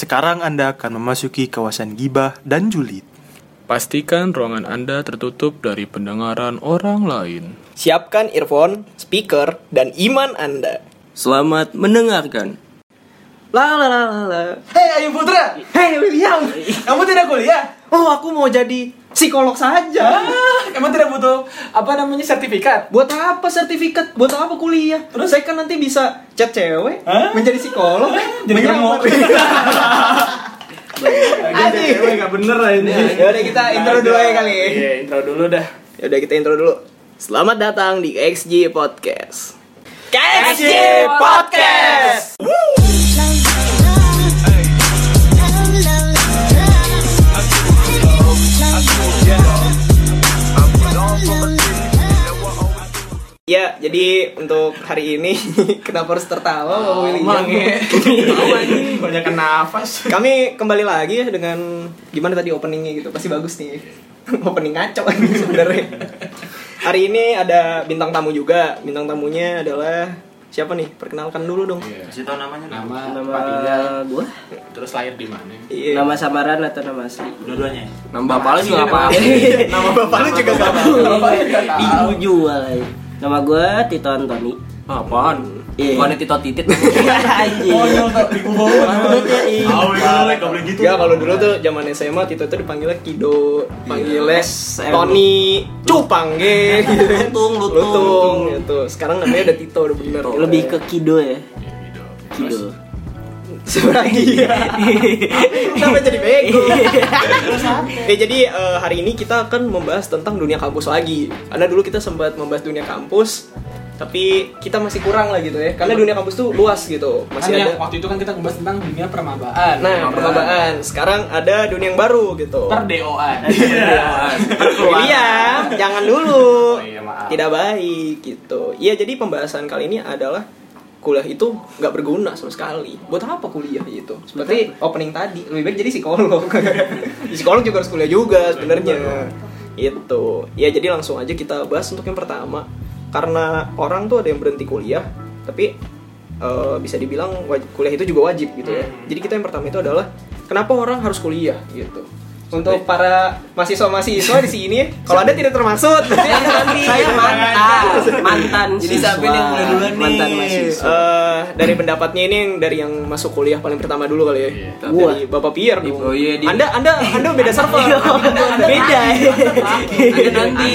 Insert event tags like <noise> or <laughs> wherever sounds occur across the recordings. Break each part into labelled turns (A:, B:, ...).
A: Sekarang Anda akan memasuki kawasan gibah dan julid.
B: Pastikan ruangan Anda tertutup dari pendengaran orang lain.
C: Siapkan earphone, speaker, dan iman Anda.
D: Selamat mendengarkan.
E: La la la la la.
F: Hei Ayu Putra,
E: Hey William,
F: kamu tidak kuliah?
E: oh aku mau jadi psikolog saja.
F: Ah, kamu tidak butuh apa namanya sertifikat?
E: Buat apa sertifikat? Buat apa kuliah? Terus saya kan nanti bisa chat cewek,
F: Hah?
E: menjadi psikolog,
F: Jadi
E: menyamar.
F: kamu <laughs>
E: Adik.
F: gak bener lah ini.
E: Ya udah kita intro dulu aja kali.
F: Iya, intro dulu dah.
C: Ya udah kita intro dulu. Selamat datang di XG Podcast.
E: KXG
C: Podcast. Ya, jadi untuk hari ini <laughs> kenapa harus tertawa Bapak William? <laughs>
F: Banyak nafas.
C: Kami kembali lagi dengan gimana tadi openingnya gitu, pasti bagus nih. <laughs> Opening ngaco sebenarnya. Hari ini ada bintang tamu juga. Bintang tamunya adalah siapa nih? Perkenalkan dulu dong.
D: Kasih tahu namanya. Nama.
E: Nama gua
B: Terus lahir di mana?
C: Iya.
E: nama samaran atau nama asli?
D: Dua-duanya. Nama bapak lu juga apa?
C: iya. <laughs> Nama bapak lu juga gak tahu.
E: Ibu jual. eh. Nama gua Tito Antoni.
D: Apaan?
E: Iya.
D: Bukannya
E: <laughs>
D: tito titit.
E: Anjing. iya.
C: Ya kalau dulu tuh zaman SMA Tito tuh dipanggilnya Kido, panggilnya
E: SM.
C: Tony, Cupang ge.
E: Lutung, lutung.
C: Lutung gitu. Sekarang namanya ada Tito udah bener.
E: Lebih ke Kido
D: Iya,
E: ya. Kido.
F: Iya.
C: Sebenarnya Kenapa jadi bego? eh jadi eh, hari ini kita akan membahas tentang dunia kampus lagi. Karena dulu kita sempat membahas dunia kampus, tapi kita masih kurang lah gitu ya. Karena dunia kampus tuh luas gitu. Masih
F: Masih
C: ada.
F: waktu itu kan kita ngebahas tentang dunia permabaan.
C: Nah, perkembangan. Sekarang ada dunia yang baru gitu.
F: per DOA.
C: Iya.
F: <laughs>
C: William, jangan dulu.
F: Iya. Oh iya, maaf.
C: Tidak baik gitu. Iya, jadi pembahasan kali ini adalah kuliah itu nggak berguna sama sekali. Buat apa kuliah itu? Seperti opening tadi, lebih baik jadi psikolog. <laughs> psikolog juga harus kuliah juga sebenarnya. Itu. Ya, jadi langsung aja kita bahas untuk yang pertama. Karena orang tuh ada yang berhenti kuliah, tapi eh, bisa dibilang waj- kuliah itu juga wajib gitu ya. Jadi kita yang pertama itu adalah kenapa orang harus kuliah gitu untuk para mahasiswa-mahasiswa di <laughs> sini kalau ada tidak termasuk nanti
E: Saya mantan, mantan.
D: Jadi
E: siswa.
D: siapa nih yang mulai duluan nih?
E: Mantan mahasiswa.
C: Eh, dari pendapatnya ini yang dari yang masuk kuliah paling pertama dulu kali ya
E: Gua.
C: dari bapak Pierre dong.
D: Oh iya, di-
C: anda anda anda beda server beda
D: Ada nanti.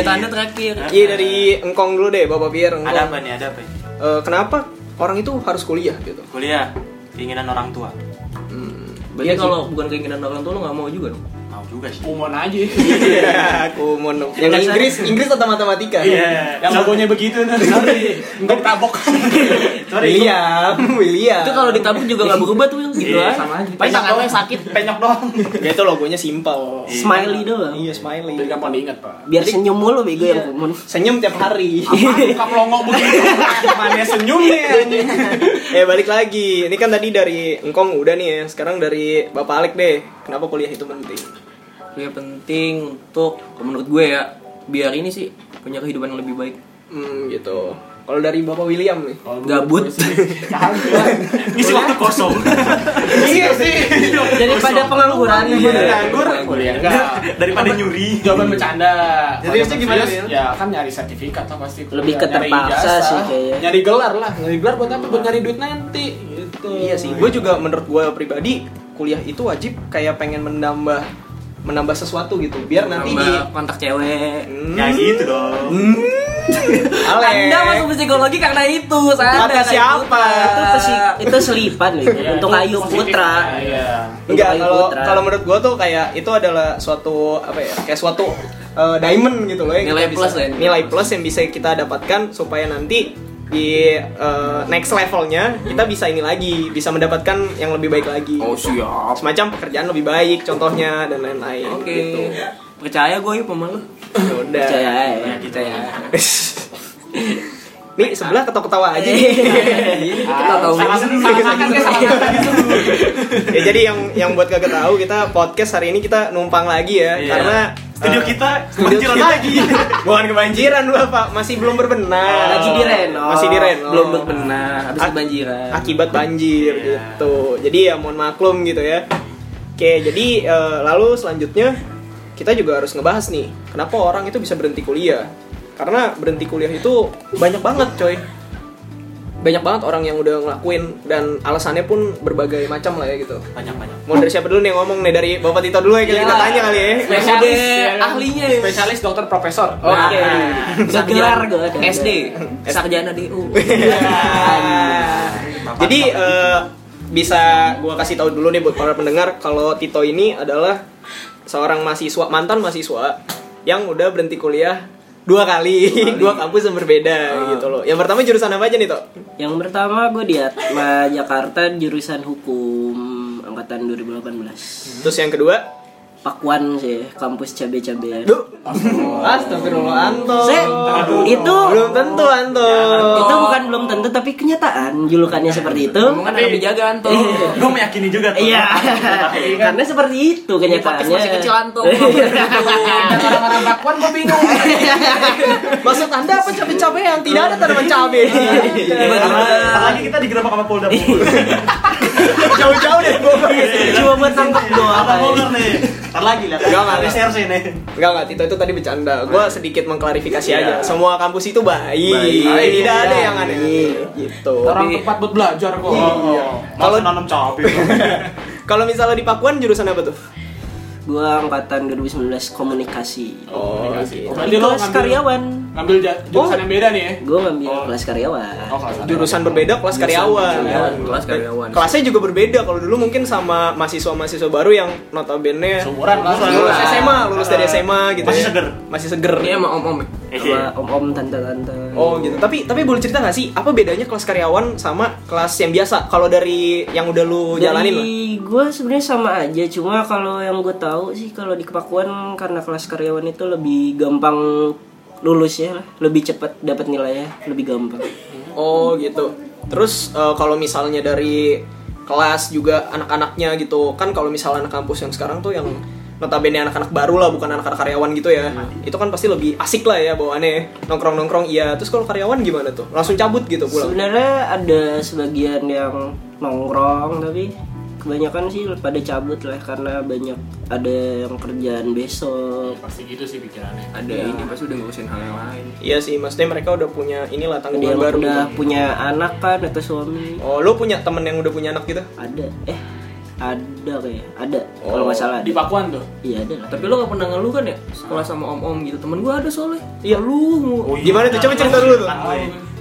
D: Jatah anda terakhir.
C: iya dari engkong dulu deh bapak Pierre engkong.
G: Ada apa nih? Ada apa nih?
C: Eh, kenapa orang itu harus kuliah gitu
G: Kuliah, keinginan orang tua.
D: Berarti kalau bukan keinginan orang tua lu nggak mau juga dong.
E: Iya.
G: Mau juga sih.
F: Umon aja.
C: <laughs> Iya, aku mau nung- yang Iya. Inggris Inggris atau matematika
F: Yang logonya begitu nanti. Enggak tabok.
C: <laughs> William William
D: Itu kalau ditabung juga nggak berubah tuh gitu
F: Iya,
D: kan.
F: sama aja.
D: Paling tangan lu yang sakit.
G: Penyok doang.
C: <laughs> ya itu logonya simpel
E: Smiley doang.
C: iya smiley
F: Jadi gampang diingat, Pak.
E: Biar senyum mulu bego ya,
D: iya.
E: yang kumon.
C: senyum tiap hari
F: Muka melongo begitu.
C: Mana senyumnya anjing. <laughs> Eh balik lagi. Ini kan tadi dari Engkong udah nih ya. Sekarang dari Bapak Alek deh. Kenapa kuliah itu penting?
D: Kuliah penting untuk menurut gue ya biar ini sih punya kehidupan yang lebih baik.
C: Hmm gitu. Kalau dari Bapak William nih.
D: Gabut.
G: Ngisi waktu kosong.
C: Iya sih.
E: Daripada pengangguran.
C: Iya, Nganggur. Iya.
F: Kuliah Iya. enggak.
G: Daripada nyuri.
F: jawaban bercanda.
C: Jadi harusnya gimana,
F: Serius,
C: Wil?
F: Ya kan nyari sertifikat lah pasti.
E: Lebih
F: Ya,
E: ke
F: nyari
E: terpaksa
F: ijazah,
E: sih kayaknya.
F: Nyari gelar lah, nyari gelar buat apa? Buat nyari duit nanti. Gitu.
C: Iya sih. Gue juga menurut gue pribadi kuliah itu wajib kayak pengen menambah menambah sesuatu gitu biar nanti di
D: Nambah kontak cewek.
C: Hmm,
G: Ya gitu dong.
F: Hmm.
C: Alek.
D: Anda masuk psikologi karena itu, saya
C: Kata siapa?
E: Itu pesi- itu selipan gitu.
F: Ya,
E: Untuk
F: itu
E: Ayu
F: positif. Nah,
E: Putra.
F: Iya.
C: Enggak,
E: Untuk Ayu
C: kalau
E: Putra.
C: kalau menurut gue tuh kayak itu adalah suatu apa ya? Kayak suatu eh, diamond gitu loh. yang
D: Nilai
C: kita
D: plus
C: bisa,
D: lah ya.
C: Nilai plus yang bisa kita dapatkan supaya nanti di eh, next levelnya kita bisa ini lagi, bisa mendapatkan yang lebih baik lagi.
D: Oh siap.
C: Semacam pekerjaan lebih baik, contohnya dan lain-lain.
D: Oke.
C: Gitu.
D: Percaya gue yuk pemalu.
C: Ya Udah.
E: Percaya ya.
D: Kita ya.
C: Nih sebelah ketawa-ketawa aja.
H: <laughs>
D: Kita tahu.
F: Salah salah makan kayak salah makan gitu.
C: ya jadi yang yang buat kagak tahu kita podcast hari ini kita numpang lagi ya
D: Iya.
C: karena eh,
G: Studio kita kebanjiran lagi.
C: <laughs> Bukan kebanjiran lu apa? Masih belum berbenah.
D: Lagi di renov.
C: Masih di renov.
D: Belum berbenah, habis kebanjiran.
C: Akibat banjir gitu. Jadi ya mohon maklum gitu ya. Oke, jadi eh, lalu selanjutnya kita juga harus ngebahas nih, kenapa orang itu bisa berhenti kuliah? Karena berhenti kuliah itu banyak banget, coy. Banyak banget orang yang udah ngelakuin dan alasannya pun berbagai macam lah ya gitu.
G: Banyak-banyak.
C: Mau dari siapa dulu nih yang ngomong nih dari Bapak Tito dulu ya
H: Iya.
C: kita, kita tanya kali ya.
F: Spesialis,
D: Metode
F: ya kan?
D: ahlinya.
F: Spesialis dokter profesor.
C: Oke.
D: Gak gelar gue SD
C: Nah. S-
D: Sarjana
C: <laughs>
D: DU
C: Iya. Jadi eh, bisa gua kasih tahu dulu nih buat para pendengar kalau Tito ini adalah seorang mahasiswa mantan mahasiswa yang udah berhenti kuliah dua kali, dua kampus yang berbeda gitu loh. Yang pertama jurusan apa aja nih, Tok?
H: Yang pertama gue di Atma Jakarta jurusan hukum angkatan 2018.
C: Terus yang kedua,
H: Pakuan sih, kampus cabe-cabean.
C: duh. Astagfirullah Anto.
H: Se- itu
C: Belum tentu Anto.
H: itu bukan belum tentu tapi kenyataan julukannya seperti itu.
D: Omongan akan dijaga Anto
G: Gue meyakini juga tuh.
H: Iya. <laughs> Karena seperti itu kenyataannya. Iya.
D: Masih kecil
H: <laughs>
D: Anto gua nggak boleh gitu.
F: Orang-orang bakwan gue bingung.
C: Maksud Anda apa cabe-cabe yang tidak ada tanaman <laughs> cabe?
G: Apalagi kita digerebek sama Polda Bogor.
C: Jauh-jauh deh gua.
H: Cuma buat tangkap doang.
C: Iya.
G: Apa Bogor nih? Ntar lagi lah.
C: Enggak, enggak.
G: SRC nih.
C: Enggak enggak, Tito itu tadi bercanda. Gua sedikit mengklarifikasi aja. Semua kampus itu baik.
G: Baik.
C: Tidak ada
G: Baik.
C: yang aneh. Gitu.
F: Orang tempat buat belajar kok.
G: Kalau
C: Kalau-
G: nanam cabe.
C: Kalau misalnya di Pakuan jurusan apa tuh?
H: Gue angkatan 2019 komunikasi.
C: Oh, gitu.
F: Berarti
H: Di
F: lo
H: kelas
F: ngambil-
H: karyawan.
F: Ngambil ja- jurusan yang beda nih ya.
H: Gue ngambil kelas karyawan.
C: Oh. Jurusan berbeda kelas karyawan.
D: Kelas karyawan
C: Kelasnya juga berbeda. Kalau dulu mungkin sama mahasiswa-mahasiswa baru yang notabene
G: Seumuran lah.
C: lulus SMA, lulus dari SMA gitu.
G: Masih
C: ya.
G: seger.
C: Masih seger.
H: Iya,
D: Ini emang om-om ya?
H: Sama om-om tante-tante.
C: Oh gitu. Tapi tapi boleh cerita nggak sih apa bedanya kelas karyawan sama kelas yang biasa? Kalau dari yang udah lu jalanin lah.
H: gue sebenarnya sama aja cuma kalau yang gue tahu sih kalau di kepakuan karena kelas karyawan itu lebih gampang lulusnya lah lebih cepat dapat nilainya lebih gampang
C: Oh gitu. Terus eh, kalau misalnya dari kelas juga anak-anaknya gitu kan kalau misalnya anak kampus yang sekarang tuh yang notabene anak-anak baru lah bukan anak-anak karyawan gitu ya itu kan pasti lebih asik lah ya bawaannya nongkrong nongkrong iya terus kalau karyawan gimana tuh langsung cabut gitu pulang
H: sebenarnya ada sebagian yang nongkrong tapi kebanyakan sih pada cabut lah karena banyak ada yang kerjaan besok
F: Pasti gitu sih pikirannya.
D: Ada ini pasti udah ngurusin hal yang lain
C: iya sih maksudnya mereka udah punya inilah
H: ada
C: tanggungan
H: yang
C: baru
H: udah punya anak kan atau suami
C: oh lo punya temen yang udah punya anak gitu
H: ada eh ada kayak ada kalau nggak salah ada.
F: Di Pakuan tuh.
H: iya ada lah
D: Tapi lo gak pernah ngeluh kan ya? Sekolah sama om-om gitu Temen gue ada soalnya Iya lu
C: Oh, gimana tuh coba cerita dulu tuh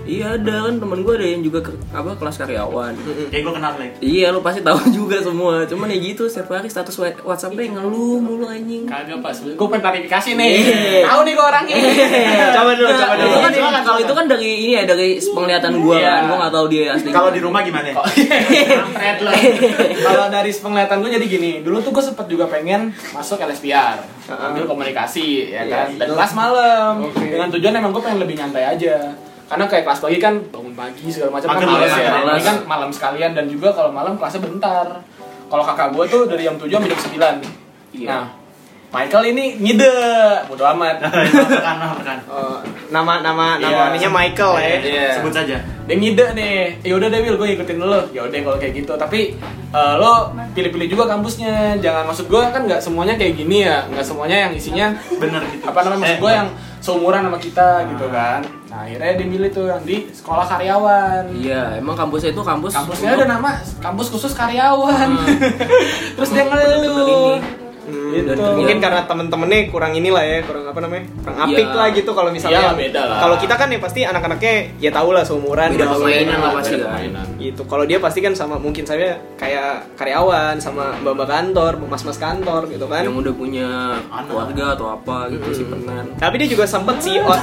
D: Iya ada kan temen gue ada yang juga ke- apa kelas karyawan
G: Kayak gue kenal nih.
D: Iya lu pasti tahu <laughs> juga semua Cuman ya gitu setiap hari status wa- Whatsappnya ngeluh mulu anjing
F: <laughs> Kagak pas. Gue pengen klarifikasi nih.
D: Iya.
F: Tahu nih gue orangnya.
C: coba dulu
D: Nah,
C: coba dulu
D: itu kan- kalau itu kan dari ini ya dari penglihatan gua kan, gua nggak tahu dia asli.
G: Kalau di rumah gimana?
F: Kampret lo. Kalau dari penglihatan gue jadi gini, dulu tuh gue sempet juga pengen masuk LSPR, ambil komunikasi ya kan, dan kelas malam. Dengan tujuan emang gue pengen lebih nyantai aja. Karena kayak kelas pagi kan bangun pagi segala macam kan
G: Mager
F: males
G: ya,
F: ya.
D: males.
F: Ini kan malam sekalian dan juga kalau malam kelasnya bentar. Kalau kakak gue tuh dari jam 7 sampai jam 9.
D: Iya.
F: Nah, Michael ini ngide, bodo amat.
G: Makan, makan.
C: Oh, nama nama nama
F: Iya.
C: ininya Michael ya
G: Sebut saja.
F: Dia ngide nih, ya udah deh Will, gue ngikutin lo. Ya udah kalau kayak gitu, tapi eh, lo pilih-pilih juga kampusnya. Jangan maksud gue kan nggak semuanya kayak gini ya, nggak semuanya yang isinya
G: Bener gitu.
F: apa namanya maksud gue yang seumuran sama kita gitu kan. Nah akhirnya dia milih tuh yang di sekolah karyawan.
D: Iya, emang kampusnya itu kampus.
F: Kampusnya ada nama kampus khusus karyawan. <laughs> Terus dia ngeluh.
C: Hmm,
F: Gitu.
C: mungkin karena temen-temennya kurang inilah ya kurang apa namanya kurang apik
D: Iya.
C: lah gitu kalau misalnya
F: Iya, beda lah.
C: kalau kita kan ya pasti anak-anaknya ya tau lah seumuran
D: Beda
C: gitu.
D: permainan lah pasti
F: Iya,
D: kan.
C: gitu kalau dia pasti kan sama mungkin saya kayak karyawan sama mbak-mbak kantor mas-mas kantor gitu kan Hmm.
D: Yang udah punya keluarga atau apa gitu Iya. sih penan.
C: tapi dia juga sempet
D: <laughs>
C: sih oh,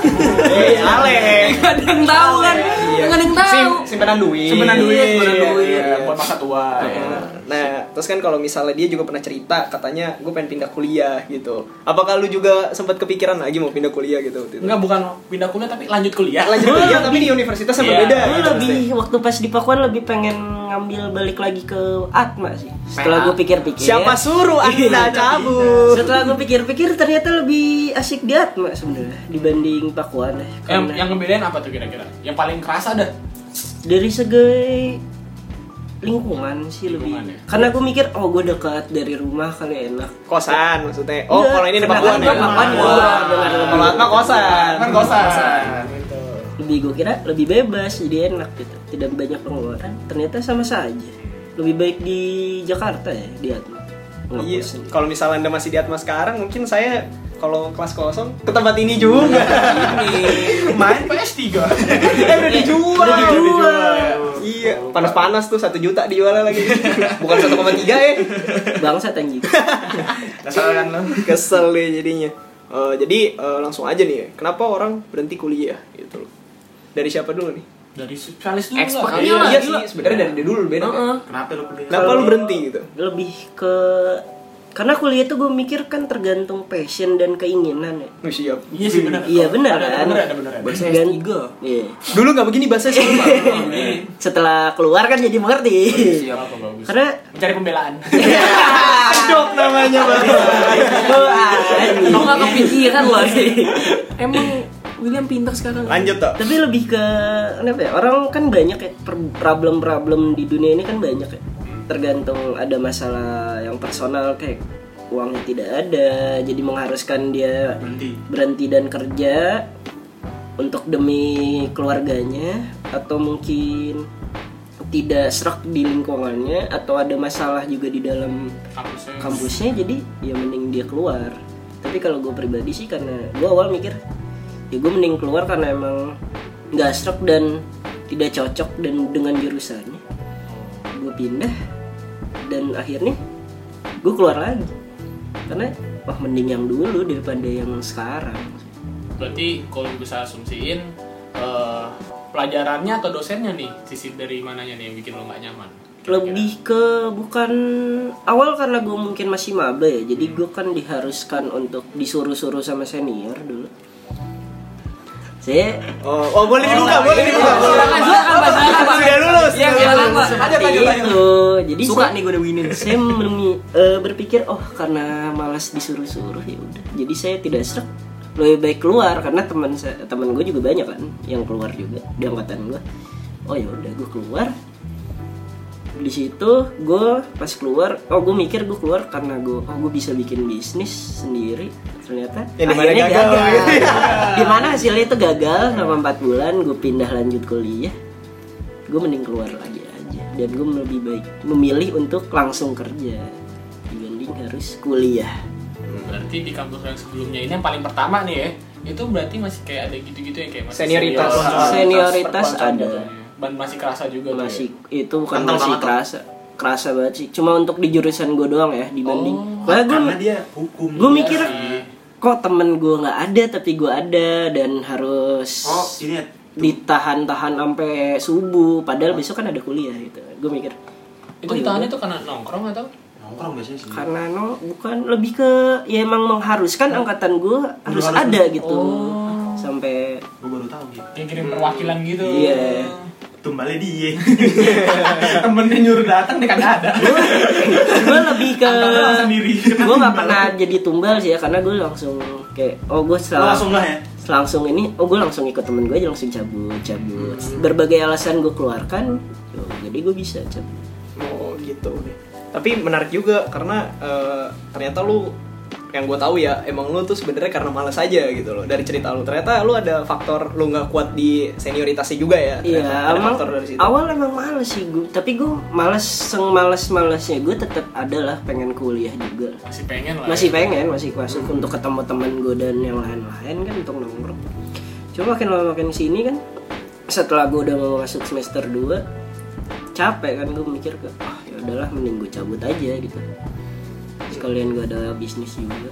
C: eh, Alex
D: Gak ada yang tahu kan? Gak ada yang tahu.
C: Sim- simpenan duit Iya,
F: Simpenan duit,
D: simpenan duit.
F: Iya, buat masa tua. ya.
C: Nah, terus kan kalau misalnya dia juga pernah cerita katanya gue pengen pindah kuliah gitu. Apakah lu juga sempat kepikiran lagi mau pindah kuliah gitu? waktu itu?
F: Enggak bukan pindah kuliah tapi lanjut kuliah.
C: Lanjut kuliah tapi di universitas yang
F: Iya.
C: berbeda
H: Gue
C: gitu.
H: lebih waktu pas di Pakuan lebih pengen ngambil balik lagi ke Atma sih. Setelah gue pikir-pikir.
C: Siapa suruh Anda cabut?
H: Setelah gue pikir-pikir ternyata lebih asik di Atma sebenarnya dibanding Pakuan.
F: Yang,
H: Karena
F: yang ngebedain apa tuh kira-kira? Yang paling kerasa dah.
H: dari segi lingkungan sih lebih.
F: Lingkungan ya.
H: Karena gue mikir oh gue dekat dari rumah kali enak.
C: Kosan maksudnya. Oh,
H: Iya,
C: kalau ini di
H: karena
C: Pakuan
H: kan
C: ya.
H: gua Pakuan ya. Dengan
C: Kalau
H: lebih-
C: Atma kosan.
F: Kan kosan.
H: lebih gue kira lebih bebas jadi enak gitu tidak banyak pengeluaran ternyata sama saja lebih baik di Jakarta ya di Atma
C: Iya,
H: Ngekos sendiri.
C: kalau misalnya Anda masih di Atma sekarang mungkin saya kalau kelas kosong ke tempat ini juga.
F: Main PS3.
C: <laughs> eh udah dijual.
H: Udah dijual.
C: Iya, panas-panas tuh satu juta dijualnya lagi. Bukan 1,3 ya.
H: bangsa
F: <laughs>
H: tanji
G: kan
C: Kesel Kesel deh jadinya. Eh, jadi eh, langsung aja nih, ya. kenapa orang berhenti kuliah gitu loh. Dari siapa dulu nih?
F: Dari spesialis dulu
D: Expert
F: lah.
D: Iya, lah.
C: iya
D: gila.
C: sih, sebenarnya dari dulu beda. kan?
G: Kenapa lu kuliah?
C: Kenapa lu berhenti gitu?
H: lebih ke karena kuliah itu gue mikir kan tergantung passion dan keinginan ya
C: Lu siap.
F: Iya sih benar.
H: Iya, benar,
F: Ada
H: kan?
F: benar ada benar. ada.
D: Bahasa
H: Dan-
D: S3.
H: Iya.
C: Dulu nggak begini bahasanya sama.
H: setelah keluar kan jadi mengerti
F: Siapa bagus?
H: karena
F: Mencari pembelaan.
C: Dok namanya Bang.
H: <laughs>
D: Eh, Lo nggak kepikiran loh sih. Emang William pintar sekarang.
C: Lanjut toh.
H: tapi lebih ke kenapa ya orang kan banyak ya per- problem-problem di dunia ini kan banyak ya tergantung ada masalah yang personal kayak uangnya tidak ada jadi mengharuskan dia
G: Berhenti.
H: berhenti dan kerja untuk demi keluarganya atau mungkin tidak serak di lingkungannya atau ada masalah juga di dalam
F: Kampusnya.
H: kampusnya jadi ya mending dia keluar tapi kalau gue pribadi sih karena gue awal mikir ya gue mending keluar karena emang nggak stroke dan tidak cocok dan dengan jurusannya gue pindah dan akhirnya gue keluar lagi karena wah mending yang dulu daripada yang sekarang
F: Berarti kalau bisa asumsiin eh, pelajarannya atau dosennya nih sisi dari mananya nih yang bikin lo nggak nyaman? Kira-kira.
H: lebih ke bukan awal karena gue mungkin masih maba ya jadi gue kan diharuskan untuk disuruh-suruh sama senior dulu saya
C: Oh, oh, boleh dibuka, boleh dibuka. boleh.
D: Silakan, iya, silakan, Mas. Silakan.
C: Sudah lulus.
D: Iya, silakan, Pak.
H: seperti itu Iya, gitu. jadi
D: Suka
H: saya-
D: nih gue udah winin.
H: saya meni- eh, berpikir oh karena malas disuruh-suruh ya udah jadi saya tidak serak lebih baik keluar karena teman saya teman gue juga banyak kan yang keluar juga di angkatan gue oh ya udah gue keluar di situ gue pas keluar oh gue mikir gue keluar karena gue oh gue bisa bikin bisnis sendiri ternyata
C: Ya, di mana
H: akhirnya
C: gagal.
H: di mana hasilnya itu gagal selama empat bulan gue pindah lanjut kuliah gue mending keluar lagi aja dan gue lebih baik memilih untuk langsung kerja dibanding harus kuliah
G: Hmm.
F: Berarti di kampus yang sebelumnya ini yang paling pertama nih ya. Itu berarti masih kayak ada gitu-gitu ya kayak masih
C: Senioritas.
F: senior.
H: senioritas
F: Iya.
H: ada
F: Dan masih kerasa juga tuh ya.
H: masih itu bukan
G: Iya. Kental
H: masih
G: banget tuh.
H: kerasa kerasa banget sih cuma untuk di jurusan gue doang ya dibanding
F: Oh,
H: Makanya gua-
G: Karena dia hukum.
H: gue mikir
F: sih.
H: kok temen gue nggak ada tapi gue ada dan harus
G: Oh, ini ya.
H: ditahan-tahan sampai subuh padahal besok kan ada kuliah gitu gue mikir
G: Hmm.
F: Itu ditahannya tuh karena nongkrong atau?
G: Nongkrong biasanya sih.
H: karena no bukan lebih ke ya emang mengharuskan angkatan gue harus
G: harus.
H: ada gitu
G: Oh.
H: sampai
G: Gue baru tahu gitu.
F: Yang kirim perwakilan gitu.
H: Iya.
G: Tumbalnya dia. Temennya nyuruh datang dia kagak ada.
H: gue eh, lebih ke
G: Orang sendiri.
H: gue nggak pernah jadi tumbal sih ya karena gue langsung kayak oh gue
G: Lo
H: selalu
G: langsung lah ya.
H: langsung ini oh gue langsung ikut temen gue aja langsung cabut cabut
C: Hmm.
H: berbagai alasan gue keluarkan yo, jadi gue bisa cabut
C: Oh gitu. Tapi menarik juga karena eh, ternyata lu yang gue tahu ya emang lu tuh sebenarnya karena malas aja gitu loh dari cerita lu ternyata lu ada faktor lu nggak kuat di senioritasnya juga ya ternyata.
H: iya
C: ada
H: emang
C: faktor dari situ
H: awal emang males sih gue tapi gue males seng males malesnya gue tetap adalah pengen kuliah juga
C: Oh,
F: Masih pengen
C: iya.
F: lah.
H: masih pengen masih masuk untuk ketemu teman gue dan yang lain-lain kan untuk nongkrong cuma makin lama makin sini kan setelah gue udah mau masuk semester 2 capek kan gue mikir ke ah ya udahlah mending gue cabut aja gitu sekalian gue ada bisnis juga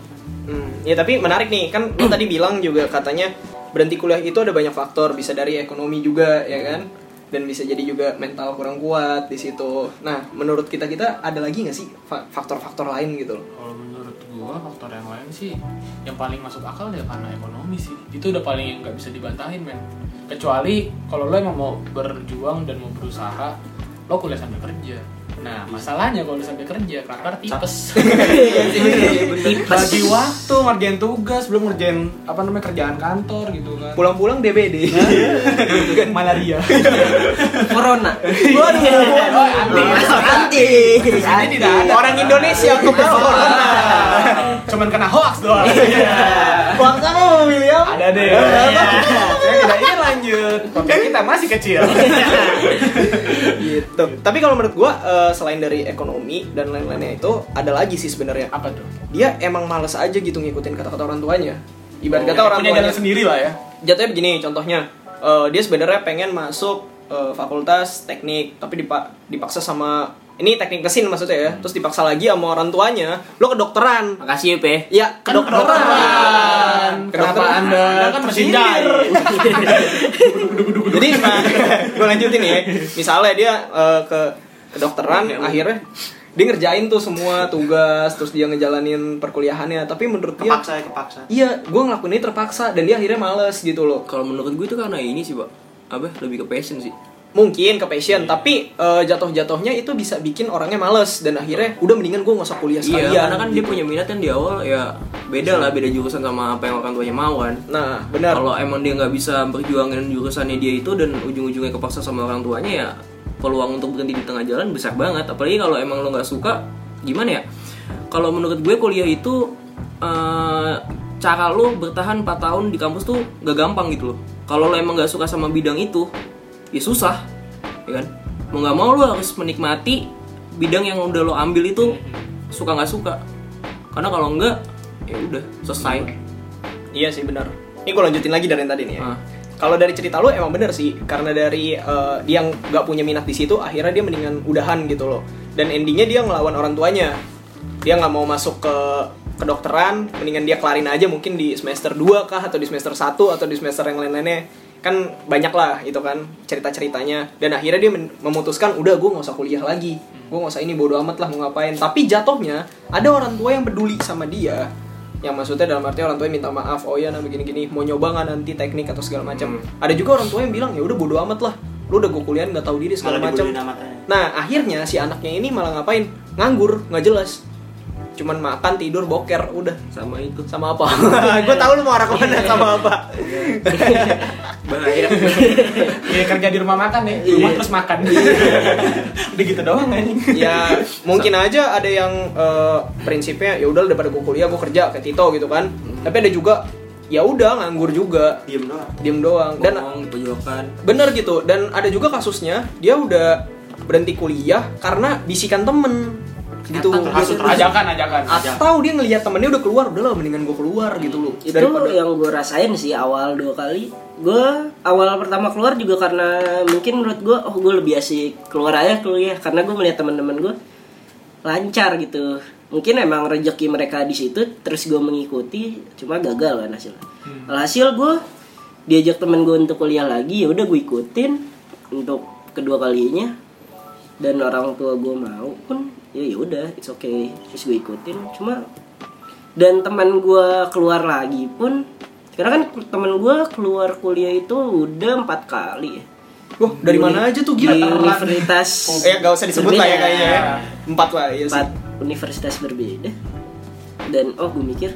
C: Hmm, ya tapi menarik nih kan lu tadi bilang juga katanya berhenti kuliah itu ada banyak faktor bisa dari ekonomi juga ya kan dan bisa jadi juga mental kurang kuat di situ. Nah, menurut kita kita ada lagi nggak sih fa- faktor-faktor lain gitu loh?
F: Kalau menurut gua faktor yang lain sih yang paling masuk akal ya karena ekonomi sih. Itu udah paling nggak bisa dibantahin men. Kecuali kalau lo emang mau berjuang dan mau berusaha, lo kuliah sambil kerja. Nah, masalahnya kalau udah sambil kerja, kantor tipes. <laughs> Iya, Bagi waktu ngerjain tugas, belum ngerjain apa namanya kerjaan kantor gitu kan.
C: Pulang-pulang DBD.
F: Bukan malaria.
H: Corona.
C: Waduh,
F: Oh,
C: Iya.
F: anti.
H: Anti.
F: Ini tidak ada.
C: Orang Indonesia aku corona.
F: <laughs> Cuman kena hoax doang. <laughs>
C: Uang kamu William.
F: Iya. Ada deh. Saya tidak ingin lanjut. Topik kita masih <laughs> kecil.
C: gitu. Tapi kalau menurut gua eh, selain dari ekonomi dan lain-lainnya itu ada lagi sih sebenarnya.
F: Apa tuh?
C: Dia emang males aja gitu ngikutin kata-kata orang tuanya. Ibarat kata
F: Ya,
C: orang
F: punya
C: tuanya
F: jalan sendiri lah ya.
C: jatuhnya begini contohnya Eh, dia sebenarnya pengen masuk eh, fakultas teknik tapi dipa- dipaksa sama ini teknik mesin maksudnya ya terus dipaksa lagi sama orang tuanya lo kedokteran
D: Makasih Yup, ya,
C: ya kedokteran
F: Kenapa
C: Kedokteran.
F: Anda kan tersindir?
C: jadi <laughs> nah, gue lanjutin ya misalnya dia eh, ke kedokteran akhirnya dia ngerjain tuh semua tugas terus dia ngejalanin perkuliahannya tapi menurut dia
G: Kepaksa ya, kepaksa.
C: iya gue ngelakuin ini terpaksa dan dia akhirnya males gitu loh
D: Kalau menurut gue itu karena ini sih, Pak. Apa lebih ke passion sih.
C: mungkin ke passion tapi eh, jatuh-jatuhnya itu bisa bikin orangnya males dan akhirnya udah mendingan gue nggak usah kuliah
D: Iya,
C: sekalian
D: karena kan dia punya minat kan di awal ya beda lah, beda jurusan sama apa yang orang tuanya mau kan.
C: nah benar
D: Kalau emang dia nggak bisa berjuangin jurusannya dia itu dan ujung-ujungnya kepaksa sama orang tuanya ya peluang untuk berhenti di tengah jalan besar banget. Apalagi kalau emang lo nggak suka, gimana ya? Kalau menurut gue kuliah itu eh, cara lo bertahan 4 tahun di kampus tuh nggak gampang gitu loh. Kalau lo emang nggak suka sama bidang itu, ya susah, ya kan? Mau nggak mau lo harus menikmati bidang yang udah lo ambil itu suka nggak suka. Karena kalau enggak, ya udah selesai.
C: iya sih benar ini gue lanjutin lagi dari yang tadi nih ya
D: Ah.
C: kalau dari cerita lu emang bener sih karena dari eh, dia yang nggak punya minat di situ akhirnya dia mendingan udahan gitu loh dan endingnya dia ngelawan orang tuanya dia nggak mau masuk ke kedokteran mendingan dia kelarin aja mungkin di semester 2 kah atau di semester 1 atau di semester yang lain-lainnya kan banyak lah itu kan cerita-ceritanya dan akhirnya dia men- memutuskan udah gue nggak usah kuliah lagi gue nggak usah ini bodo amat lah mau ngapain tapi jatuhnya ada orang tua yang peduli sama dia yang maksudnya dalam arti orang tua minta maaf oh ya nah begini gini mau nyoba nggak nanti teknik atau segala macam ada juga orang tua yang bilang ya udah bodo amat lah lu udah gue kuliah nggak tahu diri segala
G: Malah
C: macam
G: dibodohin amat aja.
C: nah akhirnya si anaknya ini malah ngapain nganggur nggak jelas cuman makan tidur boker udah
D: Sama itu.
C: sama <laughs> apa Iya. gue tahu lu mau arah kemana sama apa
D: bahaya
F: Iya kerja di rumah makan ya, di rumah terus makan. Udah gitu doang anjing.
C: ya mungkin aja ada yang eh, prinsipnya ya udah daripada gue kuliah gue kerja kayak Tito gitu kan tapi ada juga ya udah nganggur juga
G: Diem doang.
C: diem doang dan
D: bohong diperjuangkan
C: bener gitu dan ada juga kasusnya dia udah berhenti kuliah karena bisikan temen gitu
G: Hasut raja.
F: Ajakan, ajakan.
C: atau dia ngelihat temennya udah keluar udah lah mendingan gue keluar gitu loh
H: itu
C: Daripada-
H: yang gue rasain sih awal dua kali gue awal pertama keluar juga karena mungkin menurut gue oh gue lebih asik keluar aja kuliah karena gue melihat teman-teman gue lancar gitu mungkin emang rejeki mereka di situ terus gue mengikuti cuma gagal kan hasilnya alhasil gue diajak temen gue untuk kuliah lagi ya udah gue ikutin untuk kedua kalinya dan orang tua gue mau pun ya ya udah it's okay terus gue ikutin cuma dan teman gue keluar lagi pun karena kan teman gue keluar kuliah itu udah empat kali ya
C: Wah, dari mana aja tuh gila
H: di
C: telat.
H: universitas
C: Eh, gak usah disebut lah ya
H: berbeda.
C: kayaknya. ya. Empat lah, iya sih.
H: empat universitas berbeda dan oh gue mikir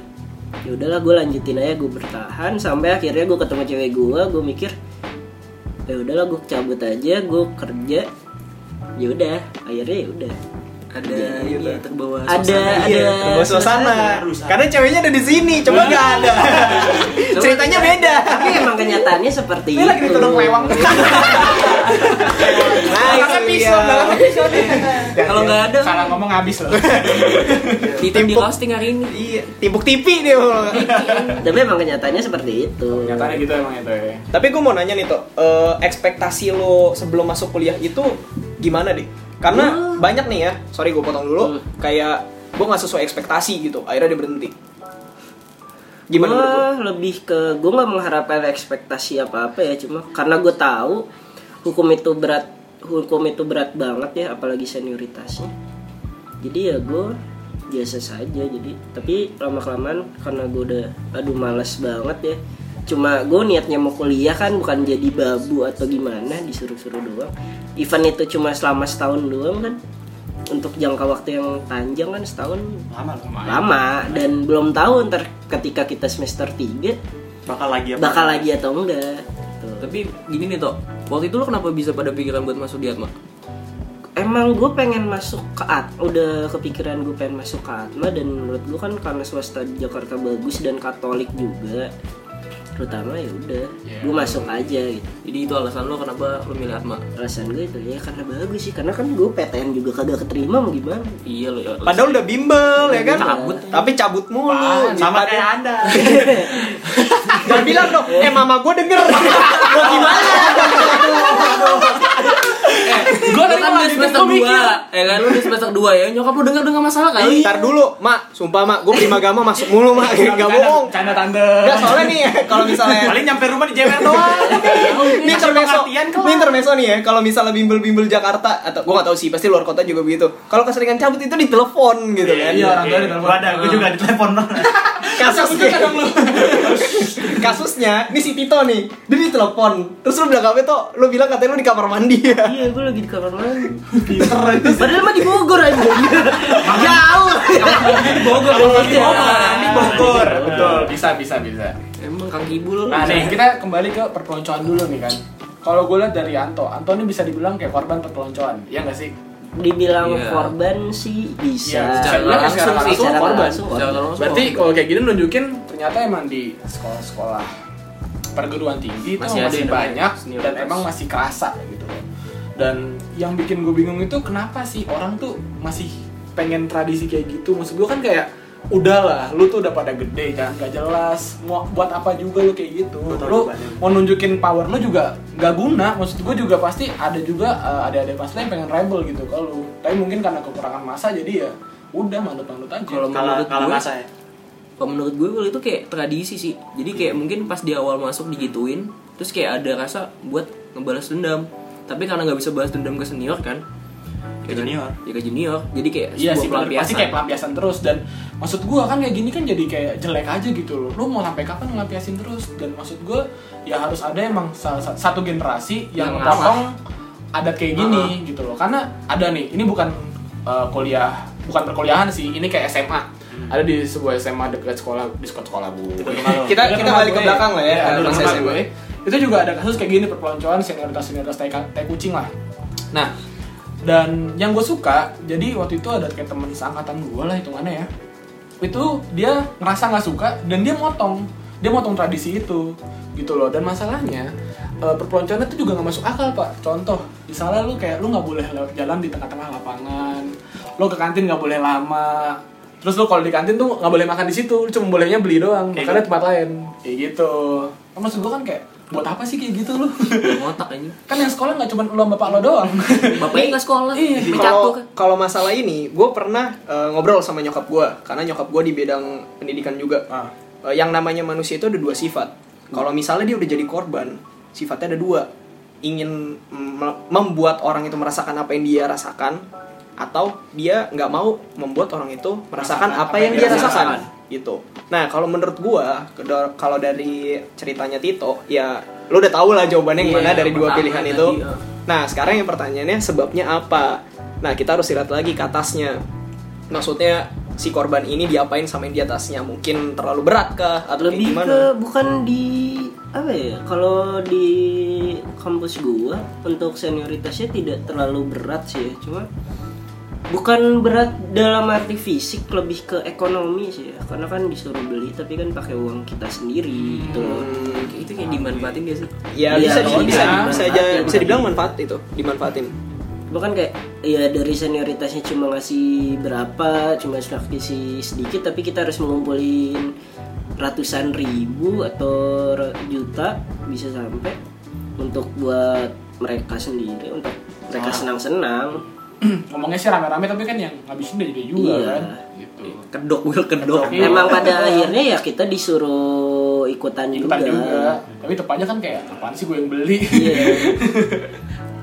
H: ya udahlah gue lanjutin aja gue bertahan sampai akhirnya gue ketemu cewek gue gue mikir ya udahlah gue cabut aja gue kerja ya udah akhirnya ya udah
D: ada ini ya, terbawa
H: ada
D: suasana.
H: ada
C: Bawa Iya, suasana. Karena ceweknya ada di sini, coba gak ada. Ceritanya beda.
H: tapi emang kenyataannya seperti
F: Ini lagi
H: itu
F: ditodong lewang.
C: Nah, iya.
D: kalau nggak ada
F: Iya. Salah ngomong habis loh.
D: kita di roasting hari ini
C: Iya, timpuk tipi dia.
H: tapi emang kenyataannya seperti itu
F: Nyatanya gitu emang itu ya.
C: Tapi gue mau nanya nih tuh, eh, ekspektasi lo sebelum masuk kuliah itu gimana deh? Karena banyak nih ya, sorry gue potong
G: Hmm.
C: dulu, kayak gue nggak sesuai ekspektasi gitu, akhirnya dia berhenti. Gimana
H: Gua
C: menurut lo?
H: lebih ke gue nggak mengharapkan ekspektasi apa apa ya cuma karena gue tahu hukum itu berat hukum itu berat banget ya apalagi senioritasnya jadi ya gue biasa saja jadi tapi lama kelamaan karena gue udah aduh malas banget ya cuma gue niatnya mau kuliah kan bukan jadi babu atau gimana disuruh-suruh doang event itu cuma selama setahun doang kan untuk jangka waktu yang panjang kan setahun
G: Lama lama.
H: lama dan belum tahu ntar ketika kita semester 3
A: Bakal lagi apa?
H: bakal lagi atau enggak gitu. Tuh.
D: Tapi gini nih Tok, waktu itu lo kenapa bisa pada pikiran buat masuk di Atma?
H: emang gue pengen masuk ke at udah kepikiran gue pengen masuk ke atma dan menurut gue kan karena swasta di Jakarta bagus dan Katolik juga terutama ya udah
A: Iya.
H: gue masuk aja gitu
D: Jadi itu alasan lo kenapa lo milih Atma?
H: perasaan gue itu ya karena bagus sih karena kan gue PTN juga kagak keterima mau gimana
D: Iya lo ya.
C: Padahal udah bimbel ya kan?
D: Cabut.
C: Tapi cabut mulu. gitu.
G: Sama kayak Anda.
C: <laughs> Jangan bilang dong, eh mama gue
G: <laughs>
C: denger. Mau gimana?
D: Gue kan udah semester 2 Ya kan, lo udah semester 2 ya Nyokap lo denger dengan masalah kan?
A: Iya.
D: kali
C: Ntar dulu, mak. Sumpah mak, gue prima gama masuk mulu mak. Gak bohong.
F: Canda tante.
C: Enggak soalnya nih ya, kalau misalnya
G: Paling nyampe rumah di JWL doang.
C: ini intermeso, ini intermeso nih ya. Kalau misalnya bimbel-bimbel Jakarta atau gue gak tahu sih, pasti luar kota juga begitu. Kalau keseringan cabut itu ditelepon gitu kan.
G: Iya orang tua ditelepon. Ada, gue juga ditelepon.
F: <laughs>
C: Kasusnya <laughs> Kasusnya, ini si Tito nih, dia ditelepon. Terus lu bilang apa tuh? Lu bilang katanya lu di kamar mandi ya.
H: iya gue lagi di kamar mandi padahal mah di Bogor aja jauh
G: Di Bogor.
F: Betul, bisa bisa bisa.
D: Emang Kang Kibul
F: Nah nih kita kembali ke perpeloncoan dulu nih kan. Kalau gue lihat dari Anto, Anto ini bisa dibilang kayak korban perpeloncoan, ya nggak sih?
H: dibilang
D: Iya.
H: korban sih bisa
F: Iya,
D: secara langsung sih,
H: secara
F: korban.
H: langsung korban.
F: Berarti kalau kayak gini nunjukin ternyata emang di sekolah-sekolah perguruan tinggi itu
D: Masih
F: masih,
D: ada yang
F: banyak
D: namanya
F: dan
D: senioritas.
F: emang masih kerasa gitu loh. Dan yang bikin gue bingung itu kenapa sih orang tuh masih pengen tradisi kayak gitu? Maksud gue kan kayak udahlah lu tuh udah pada gede jangan gak jelas mau buat apa juga lu kayak gitu
G: Betul,
F: lu
G: betul.
F: mau nunjukin power lu juga nggak guna maksud gue juga pasti ada juga uh, ada ada pasti yang pengen rebel gitu kalau tapi mungkin karena kekurangan masa jadi ya udah manut-manut aja
D: Kalau
G: Kalau
D: menurut
G: kalau
D: gue
G: masa ya.
D: kalau menurut gue Will, itu kayak tradisi sih jadi kayak mungkin pas di awal masuk digituin terus kayak ada rasa buat ngebalas dendam tapi karena nggak bisa balas dendam ke senior kan
A: Ke junior.
D: ya ke junior jadi kayak
F: Iya
D: sebuah
F: sih, bener. pasti kayak pelampiasan terus dan maksud gua kan kayak gini kan jadi kayak jelek aja gitu loh. Lu mau sampai kapan ngelampiasin terus? Dan maksud gua ya harus ada emang sa- sa- satu generasi yang
D: Yang
F: potong adat kayak gini gitu loh. Karena ada nih, ini bukan uh, kuliah, bukan perkuliahan sih, ini kayak SMA. Ada di sebuah SMA dekat sekolah, di sekolah sekolah bu.
C: Kita
F: Dekat
C: kita
F: rumah
C: balik ke
F: iya. gue.
C: belakang lah ya.
F: Iya,
C: Ada
F: dekat
C: masa
F: rumah
C: SMA.
F: gue. Itu juga ada kasus kayak gini perpeloncoan senioritas senioritas tai, ka- tai kucing lah. Nah, dan yang gue suka, jadi waktu itu ada kayak temen seangkatan gue lah hitungannya ya. Itu dia ngerasa nggak suka dan dia motong, dia motong tradisi itu gitu loh. Dan masalahnya eh, perpeloncoan itu juga nggak masuk akal pak. Contoh, misalnya lu kayak lu nggak boleh lewat jalan di tengah-tengah lapangan, lu ke kantin nggak boleh lama. Terus lu kalau di kantin tuh nggak boleh makan di situ, lu cuma bolehnya beli doang.
G: Kayak
F: Makannya tempat lain. Kayak gitu. Nah, maksud gue kan kayak buat apa sih kayak gitu lu? <laughs>
D: ngotak aja
F: kan yang sekolah nggak cuma lu sama bapak lo doang. <laughs>
D: bapaknya nggak sekolah
F: Iya.
D: mencatu
I: kan.
C: Kalau kalau masalah ini, gue pernah eh, ngobrol sama nyokap gue karena nyokap gue di bidang pendidikan juga.
F: Ah.
C: Eh, yang namanya manusia itu ada dua sifat. Kalau misalnya dia udah jadi korban, sifatnya ada dua. Ingin mem- membuat orang itu merasakan apa yang dia rasakan, atau dia nggak mau membuat orang itu merasakan apa, yang dia rasakan. Gitu. Nah, kalau menurut gue, kalau dari ceritanya Tito, ya lo udah tau lah jawabannya yang
D: Iya,
C: mana dari dua
D: pertama
C: pilihan
D: tadi,
C: itu.
D: eh.
C: Nah, sekarang yang pertanyaannya sebabnya apa? Nah, kita harus lihat lagi ke atasnya. Maksudnya si korban ini diapain sama yang di atasnya? Mungkin terlalu berat kah atau kayak
H: lebih
C: gimana?
H: ke bukan di apa ya kalau di kampus gua untuk senioritasnya tidak terlalu berat sih ya cuma bukan berat dalam arti fisik lebih ke ekonomi sih ya karena kan disuruh beli tapi kan pakai uang kita sendiri gitu loh
D: Hmm, itu kayak dimanfaatin gak sih
C: Ya,
H: Iya, ya,
C: bisa di- bisa
H: kalau dia
C: bisa
H: manfaatin
C: aja- bisa
H: tadi.
C: dibilang manfaat itu, dimanfaatin.
H: Gitu. bukan kayak ya dari senioritasnya cuma ngasih berapa cuma ngasih sedikit tapi kita harus mengumpulin ratusan ribu atau ra- juta bisa sampai untuk buat mereka sendiri untuk mereka senang-senang
F: Ngomongnya sih rame-rame tapi kan yang ngabisin dia juga
H: Iya.
F: kan. Gitu.
D: kedok Will kedok
F: Iya.
H: memang pada akhirnya ya kita disuruh ikutan,
F: Ikutan
H: juga,
F: Iya. juga. Tapi tetap aja kan kayak apaan sih gue yang beli.
H: Iya.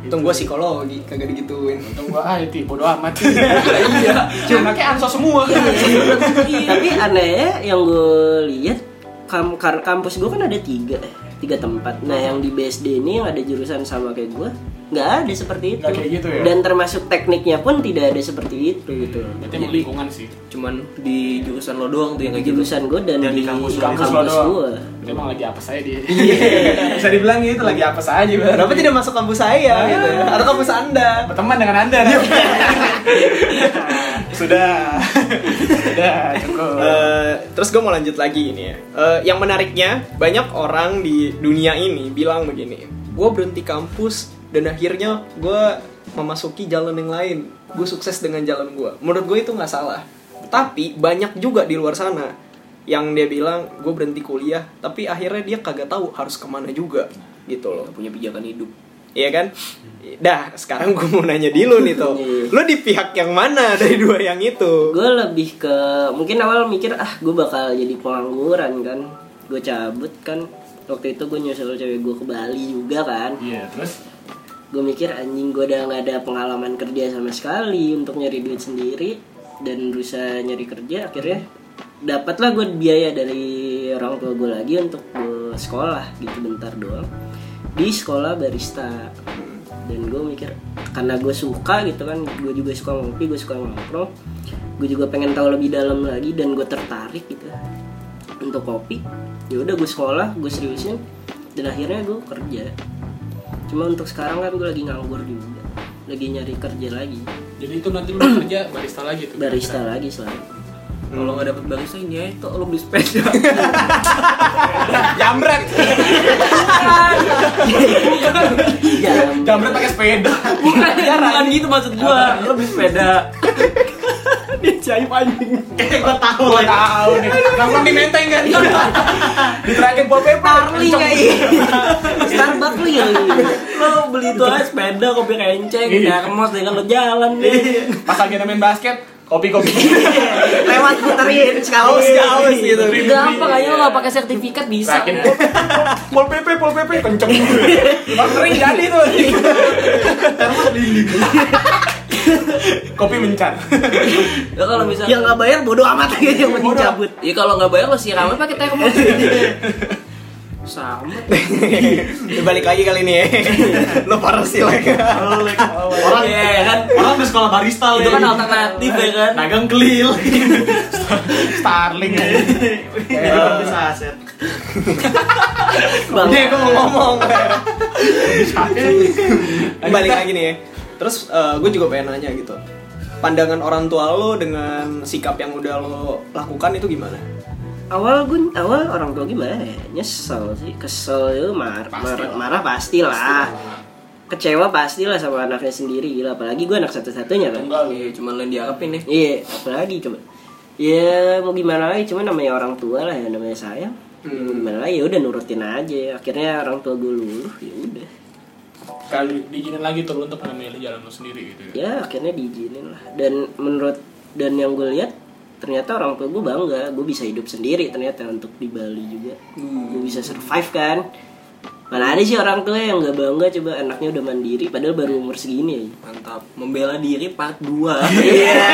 C: Untung gue psikologi, kagak digituin.
F: <laughs> Untung gua ah itu bodo amat. <laughs> Iya. Cuma kayak ansos semua.
H: <laughs> tapi anehnya yang gue lihat kam kar- kampus gue kan ada tiga eh, tiga tempat nah yang di BSD ini yang ada jurusan sama kayak gue nggak ada seperti itu
F: Nggak kayak gitu ya?
H: dan termasuk tekniknya pun tidak ada seperti itu gitu
F: Berarti emang lingkungan sih.
D: Cuman di jurusan lo doang tuh yang kayak gitu.
H: jurusan gue dan,
A: Dan di kampus lo.
F: Kampus lo
H: kampus gue
F: doang. Berarti emang lagi apa saya dia. <laughs> Bisa dibilang itu lagi apa saja, Bang.
E: Kenapa tidak masuk kampus saya gitu?
C: ya?
E: Atau kampus Anda?
F: Berteman dengan Anda. kan? <laughs> Sudah. Sudah, cukup.
C: Eh, terus gue mau lanjut lagi ini ya. Eh, yang menariknya banyak orang di dunia ini bilang begini, gue berhenti kampus dan akhirnya gue memasuki jalan yang lain. Gue sukses dengan jalan gue. Menurut gue itu nggak salah. Tapi banyak juga di luar sana yang dia bilang gue berhenti kuliah, tapi akhirnya dia kagak tahu harus kemana juga gitu loh.
D: Gak punya pijakan hidup.
C: Iya kan? Dah, sekarang gue mau nanya di lu nih tuh.
D: Iya.
C: Lu di pihak yang mana dari dua yang itu?
H: gue lebih ke mungkin awal mikir ah gue bakal jadi pengangguran kan gue cabut kan waktu itu gue nyusul cewek gue ke Bali juga kan
F: Iya, terus
H: gue mikir anjing gue udah nggak ada pengalaman kerja sama sekali untuk nyari duit sendiri dan berusaha nyari kerja akhirnya dapatlah gue biaya dari orang tua gue lagi untuk gue sekolah gitu bentar doang di sekolah barista dan gue mikir karena gue suka gitu kan gue juga suka ngopi gue suka nongkrong gue juga pengen tahu lebih dalam lagi dan gue tertarik gitu untuk kopi ya udah gue sekolah gue seriusin dan akhirnya gue kerja cuma untuk sekarang kan gue lagi nganggur juga lagi nyari kerja lagi
F: jadi itu nanti lu kerja barista lagi tuh.
H: barista lagi soalnya
D: Kalau
C: Hmm.
D: nggak dapet barista ini ya, itu lo beli sepeda.
C: <laughs>
F: Jambret.
H: Iya,
F: Jambret pakai sepeda.
D: bukan, bukan gitu maksud gua. Lo beli sepeda.
F: Iya, Gua tahu nih. Nongkrong di Menteng kan. Di terakhir Pol PP.
H: Starling kayak Starbucks lu ya
D: Lo beli itu aja sepeda, kopi kenceng,
F: Iya.
D: ya kemos deh kan lo jalan deh.
F: Pas lagi main basket, kopi-kopi. Iya.
H: lewat puterin sekali
F: Haus-haus gitu.
D: Iya.
I: Gampang aja lo gak pakai sertifikat bisa.
F: Terakhir Pol- Pol PP, Pol PP kenceng. Bang kering jadi tuh. Kopi mencar.
D: Ya kalau misalnya
H: yang nggak bayar bodoh amat aja yang penting cabut
D: Ya kalau nggak bayar lo siramnya pakai <laughs> termos. Sama.
C: Balik lagi kali ini <laughs> ya. Lu parah sih Iya, lagi.
D: Orang ya kan.
G: Orang di sekolah barista
D: Itu kan alternatif ya kan.
G: Dagang kelil.
F: Starling.
G: Jadi bisa aset.
H: bang
C: Nih, gue mau Iya, ngomong. Balik lagi nih ya. Terus gue juga pengen nanya gitu. Pandangan orang tua lo dengan sikap yang udah lo lakukan itu gimana?
H: awal gue awal orang tua gimana ya nyesel sih kesel ya marah marah, marah pastilah kecewa pastilah sama anaknya sendiri gila apalagi gue anak satu-satunya kan
D: Iya, cuma lo yang diharapin nih.
H: Iya, apalagi coba. Ya mau gimana lagi, cuma namanya orang tua lah ya namanya sayang.
D: Hmm.
H: Mau Gimana lagi, ya udah nurutin aja. Akhirnya orang tua gue luluh, ya udah.
F: Kali diizinin lagi tuh lu untuk memilih jalan lu sendiri gitu.
H: Ya akhirnya diizinin lah. Dan menurut dan yang gue lihat ternyata orang tua gue bangga, gue bisa hidup sendiri ternyata untuk di Bali juga.
D: Hmm.
H: Gue bisa survive kan. Mana ada sih orang tua yang gak bangga coba anaknya udah mandiri padahal baru umur segini aja.
D: Mantap. Membela diri part 2.
H: <laughs> Iya.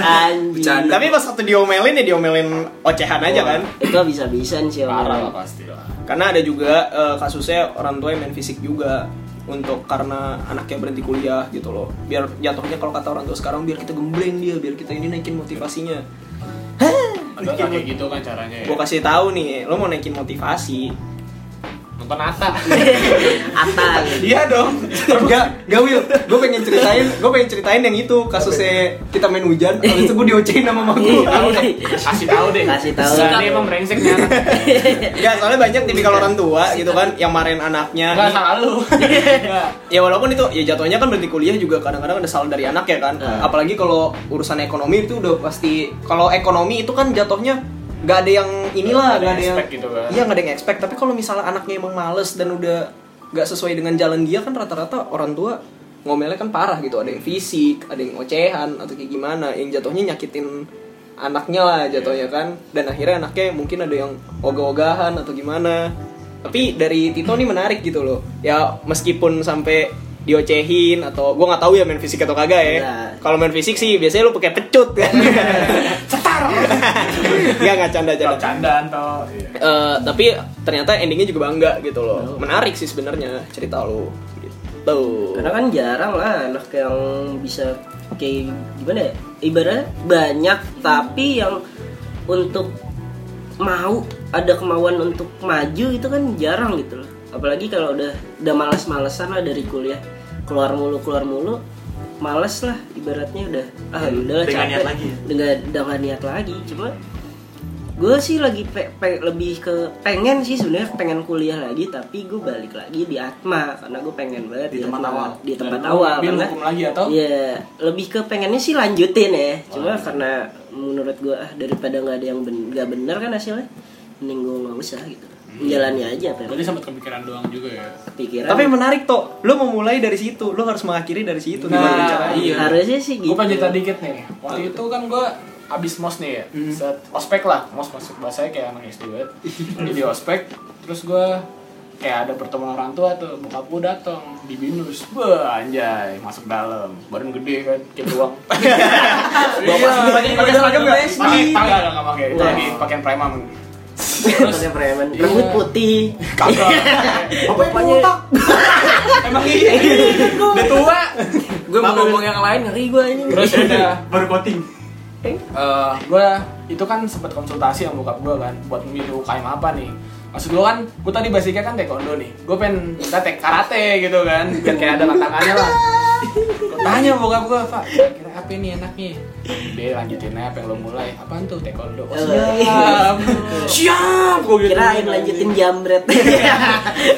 H: Anjing.
C: Tapi pas waktu diomelin ya diomelin ocehan aja kan.
H: Itu bisa-bisaan sih orang.
F: Parah lah pasti lah.
C: Karena ada juga eh, kasusnya orang tua yang main fisik juga untuk karena anaknya berhenti kuliah gitu loh. Biar jatuhnya kalau kata orang tua sekarang biar kita gembleng dia, biar kita ini naikin motivasinya.
F: Padahal nggak kayak gitu kan caranya ya.
C: Gue kasih tahu nih, lo mau naikin motivasi,
F: Nonton Ata.
H: Atal.
C: Iya dong. Enggak, enggak Will. Gue pengen ceritain, gue pengen ceritain yang itu kasusnya kita main hujan, habis itu gue diocehin sama mama gue.
H: <laughs>
F: Kasih tahu deh.
H: Kasih tahu.
F: Sikap dia emang brengsek nih anak.
C: Enggak, soalnya banyak tipikal orang tua gitu kan yang marahin
F: Enggak
C: anaknya.
F: salah lu.
C: Ya walaupun itu ya jatuhnya kan berarti kuliah juga kadang-kadang ada salah dari anak ya kan.
F: Nah.
C: Apalagi kalau urusan ekonomi itu udah pasti kalau ekonomi itu kan jatuhnya nggak ada yang inilah,
F: Nggak ada
C: nggak ada
F: yang
C: yang
F: expect gitu kan.
C: Iya, nggak ada yang expect. Tapi kalau misalnya anaknya emang males dan udah nggak sesuai dengan jalan dia kan rata-rata orang tua ngomelnya kan parah gitu. Ada yang fisik, ada yang ocehan atau kayak gimana, yang jatuhnya nyakitin anaknya lah jatuhnya kan. Dan akhirnya anaknya mungkin ada yang ogah-ogahan atau gimana. tapi dari Tito nih menarik gitu loh ya meskipun sampai diocehin atau gue nggak tahu ya main fisik atau kagak ya
H: Nah.
C: kalau main fisik sih biasanya lu pakai pecut kan cetar ya nggak canda canda
G: Candaan toh. Iya.
C: Eh, tapi ternyata endingnya juga bangga gitu loh menarik sih sebenarnya cerita lu gitu
H: Karena kan jarang lah anak yang bisa kayak gimana ya? Ibaratnya banyak tapi yang untuk mau ada kemauan untuk maju itu kan jarang gitu loh. Apalagi kalau udah udah malas-malesan lah dari kuliah keluar mulu keluar mulu males lah ibaratnya udah ah udah
A: Dengan
H: capek
A: niat lagi ya?
H: dengan dengan niat lagi cuma gue sih lagi pe- pe- lebih ke pengen sih sebenarnya pengen kuliah lagi tapi gue balik lagi di Atma karena gue pengen banget
G: Di tempat
F: Iya.
H: Atma.
G: awal.
H: di tempat
G: Dan lu
H: awal
G: ambil
H: karena
G: hukum lagi atau?
H: iya lebih ke pengennya sih lanjutin ya cuma karena menurut gue ah daripada nggak ada yang ben- nggak bener kan hasilnya mending gue nggak usah gitu
F: Hmm.
H: jalani aja apa yang
F: Berarti sempat kepikiran doang juga ya.
H: kepikiran
E: Tapi menarik toh, lu mau mulai dari situ, lu harus mengakhiri dari situ gimana
F: Nah,
E: caranya?
F: iya.
H: harusnya sih gitu
F: Gue pengen cerita dikit nih. Waktu itu kan gue abis mos nih ya, set ospek lah, mos masuk bahasanya kayak anak SD <laughs> banget. Jadi ospek, terus gue kayak ada pertemuan orang tua tuh, bokap gue datang di binus, wah anjay masuk dalam, badan gede kan, kayak <laughs> beruang. Iya, pakai pakai seragam nggak? Pakai tangga nggak pakai, itu lagi pakaian preman. Terus
H: Pakai preman
F: Iya.
H: rambut putih
F: kagak, apa yang botak? Emang iya, udah tua.
D: Gue mau ngomong yang lain ngeri gue ini.
F: Terus udah
G: Baru coating.
F: eh gue itu kan sempat konsultasi sama bokap gue kan buat memilih UKM apa nih maksud gue kan gue tadi basicnya kan taekwondo nih gue pengen minta tek karate gitu kan biar kayak ada tantangannya lah gue tanya bokap gue pak kira apa ini enaknya dia lanjutin aja apa yang lo mulai apaan tuh taekwondo oh,
H: Iya.
F: siap siap gue gitu Iya.
H: kirain lanjutin
F: <laughs>
H: jambret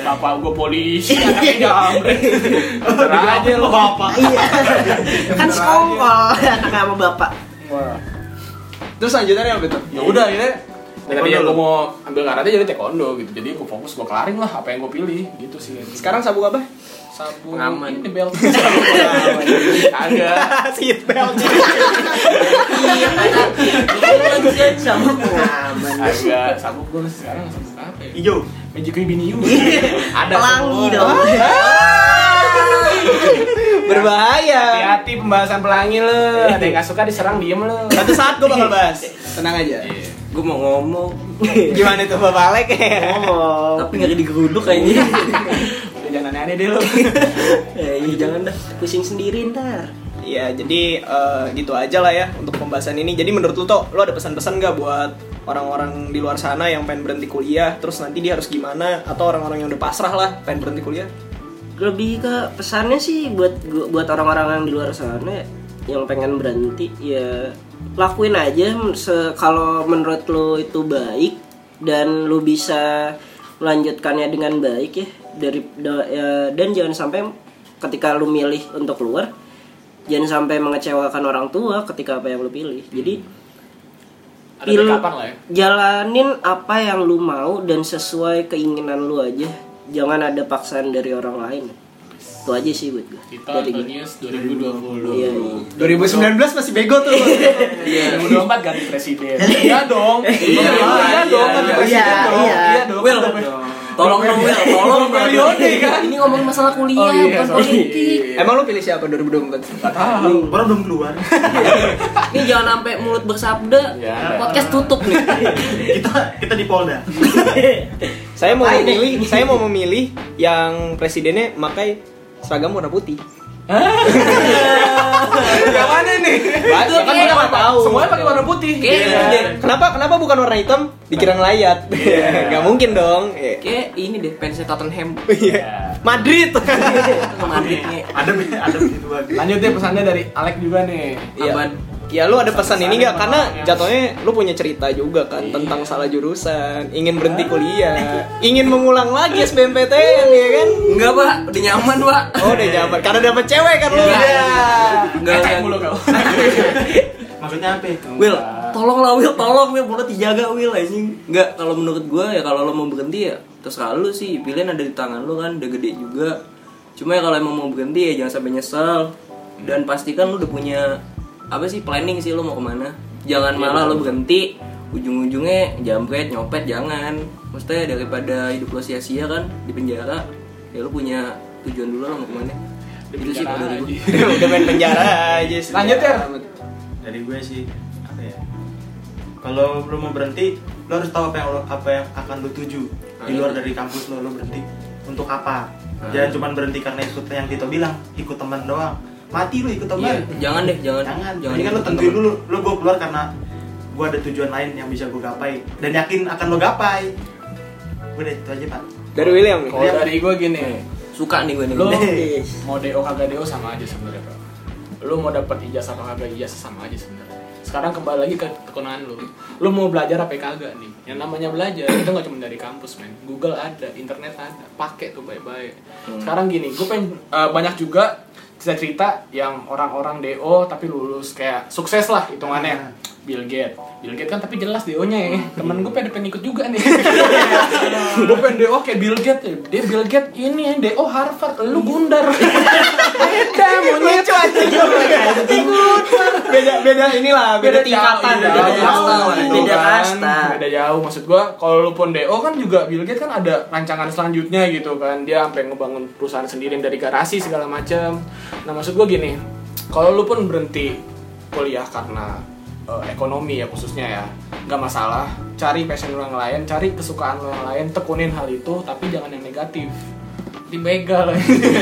F: bapak gue <laughs> polisi anaknya jamret Bener aja lo bapak
H: Iya. kan sekongkol anak sama bapak
C: terus lanjutannya apa tuh
E: Iya.
F: ya udah akhirnya tadi yang gue mau ambil karate jadi taekwondo gitu jadi gue fokus gue kelarin lah apa yang gue pilih gitu sih <laughs>
C: sekarang sabuk
E: <laughs>
C: apa
F: sabu
D: Pengaman.
F: ini belt Sabu pengaman. agak
C: seat belt
H: Iya.
F: Iya.
H: sama pengaman
F: <laughs> agak sabu gue sekarang sabu apa ya
A: Ijo.
F: magic bini you ada
H: pelangi
F: semua.
H: dong
C: berbahaya
F: hati-hati pembahasan pelangi lo ada yang gak suka diserang diem lo
C: satu saat gue bakal bahas tenang aja
D: Gue mau ngomong
C: gimana tuh bapak Alek
D: tapi ngeri digeruduk kayaknya.
F: Udah jangan aneh-aneh deh lo
H: <laughs> eh, iya, jangan dah pusing sendiri ntar
C: Iya, jadi eh, gitu aja lah ya untuk pembahasan ini. Jadi menurut lu tuh, lu ada pesan-pesan nggak buat orang-orang di luar sana yang pengen berhenti kuliah, terus nanti dia harus gimana? Atau orang-orang yang udah pasrah lah pengen berhenti kuliah?
H: lebih ke pesannya sih buat gua- buat orang-orang yang di luar sana yang pengen berhenti ya lakuin aja se- kalau menurut lo itu baik dan lo bisa melanjutkannya dengan baik ya dari da- ya, dan jangan sampai ketika lo milih untuk keluar jangan sampai mengecewakan orang tua ketika apa yang lo pilih jadi
F: ada
H: Pil-
F: kapan lah ya
H: jalanin apa yang lu mau dan sesuai keinginan lu aja jangan ada paksaan dari orang lain itu aja sih buat gue
F: Tito
H: dari gue
F: Antonius 2020
C: 2019
H: Iya,
C: masih bego tuh.
F: Iya, 2024 ganti presiden. Iya dong. Iya
D: iya,
F: dong,
D: iya,
F: ganti
D: iya,
F: presiden dong.
H: iya.
F: Iya dong.
D: Will, tolong dong
H: ya,
D: Will, tolong dong.
F: periode kan?
I: Iya Ini ngomongin masalah kuliah,
F: Oh iya,
I: bukan
F: sorry.
I: politik.
C: Emang lu pilih siapa 2024?
A: Baru belum keluar.
I: Ini jangan sampai mulut bersabda,
F: Ya.
I: podcast tutup
D: <laughs>
I: nih.
A: kita kita di Polda.
C: Saya mau memilih, saya mau memilih yang presidennya pakai seragam warna putih.
F: Yang mana nih?
C: Itu kayak
F: Kan kita nggak
C: warna-
F: tahu. Semuanya pakai warna putih.
I: Kayak
F: Iya.
C: Kenapa kenapa bukan warna hitam? Dikira ngelayat. <laughs> Gak mungkin dong. Iya.
D: Kayak ini deh fansnya
H: <laughs>
D: Tottenham.
F: Iya.
C: Madrid.
D: Madridnya
A: Ada ada begitu lagi.
F: gitu kan. Lanjut deh pesannya dari Alek juga nih.
C: Iya.
D: Aban.
C: Ya lu ada pesan
F: Pesan-pesan
C: ini nggak?
F: yang
C: Karena
F: orang yang-
C: jatuhnya lu punya cerita juga kan tentang salah jurusan, ingin berhenti kuliah, ingin mengulang lagi SBMPTN ya kan?
H: Iya.
D: Enggak, Pak. Udah nyaman, Pak.
C: Oh udah jawaban, karena dapet cewek kan lu.
D: Iya.
C: Iya.
D: Enggak, enggak.
F: mulu kau.
A: Maksudnya apa? ya?
D: Will, tolong lah Will, tolong Will, mulut dijaga Will anjing. Enggak, kalau menurut gua ya kalau lo mau berhenti ya terserah lo sih. Pilihan ada di tangan lo kan, udah gede juga. Cuma ya kalau emang mau berhenti ya jangan sampai nyesel. Iya, Dan pastikan lo udah punya apa sih planning sih lo mau kemana. Jangan malah lo berhenti ujung-ujungnya jambret nyopet jangan maksudnya daripada hidup lo sia-sia kan di penjara ya lo punya tujuan dulu lah mau kemana itu sih kalau dari gue
C: <laughs> udah main penjara aja sih.
F: Lanjut, Ter.
G: dari gue sih apa ya kalau lo mau berhenti lo harus tahu apa yang lo- apa yang akan lo tuju di luar dari kampus lo lo berhenti untuk apa
D: Ah.
G: jangan cuma berhenti karena ikut yang Tito bilang ikut teman doang mati lo ikut teman
D: Iya, jangan deh jangan
G: jangan
D: jangan
G: ini kan lo
D: ikut
G: tentuin
D: teman.
G: dulu lo gue keluar karena gue ada tujuan lain yang bisa gue gapai dan yakin akan lo gapai udah itu aja pak
C: Dari William nih.
F: Kalau dari gue gini,
D: suka nih gue nih
H: Iya,
F: Lo-
G: Deh.
F: mau DO kagak DO sama aja sebenarnya, Bro. Lu mau dapat ijazah apa kagak ijazah sama aja sebenarnya. Sekarang kembali lagi ke kekonaan lu. Lu mau belajar apa kagak nih? Yang namanya belajar itu nggak cuma dari kampus, men. Google ada, internet ada. Pakai tuh baik-baik. Sekarang gini, gue pengen eh, banyak juga cerita-cerita yang orang-orang DO tapi lulus kayak sukses lah hitungannya. Bill Gates. Bill Gates kan tapi jelas DO-nya ya. Temen gue pengen, pengen ikut juga <laughs> nih. gue pengen DO kayak Bill Gates. ya. Dia Bill Gates ini DO Harvard, lu Gundar. <laughs> Beda monyet.
C: Lucu aja Beda beda inilah, beda tingkatan.
F: jauh, iya, beda jauh,
H: Beda
F: gitu kan.
H: kasta.
F: Beda jauh maksud gua kalau lu pun DO kan juga Bill Gates kan ada rancangan selanjutnya gitu kan. Dia sampai ngebangun perusahaan sendiri dari garasi segala macam. Nah, maksud gua gini, kalau lu pun berhenti kuliah karena eh, ekonomi ya khususnya ya nggak masalah cari passion lu yang lain cari kesukaan lu yang lain tekunin hal itu tapi jangan yang negatif dibegal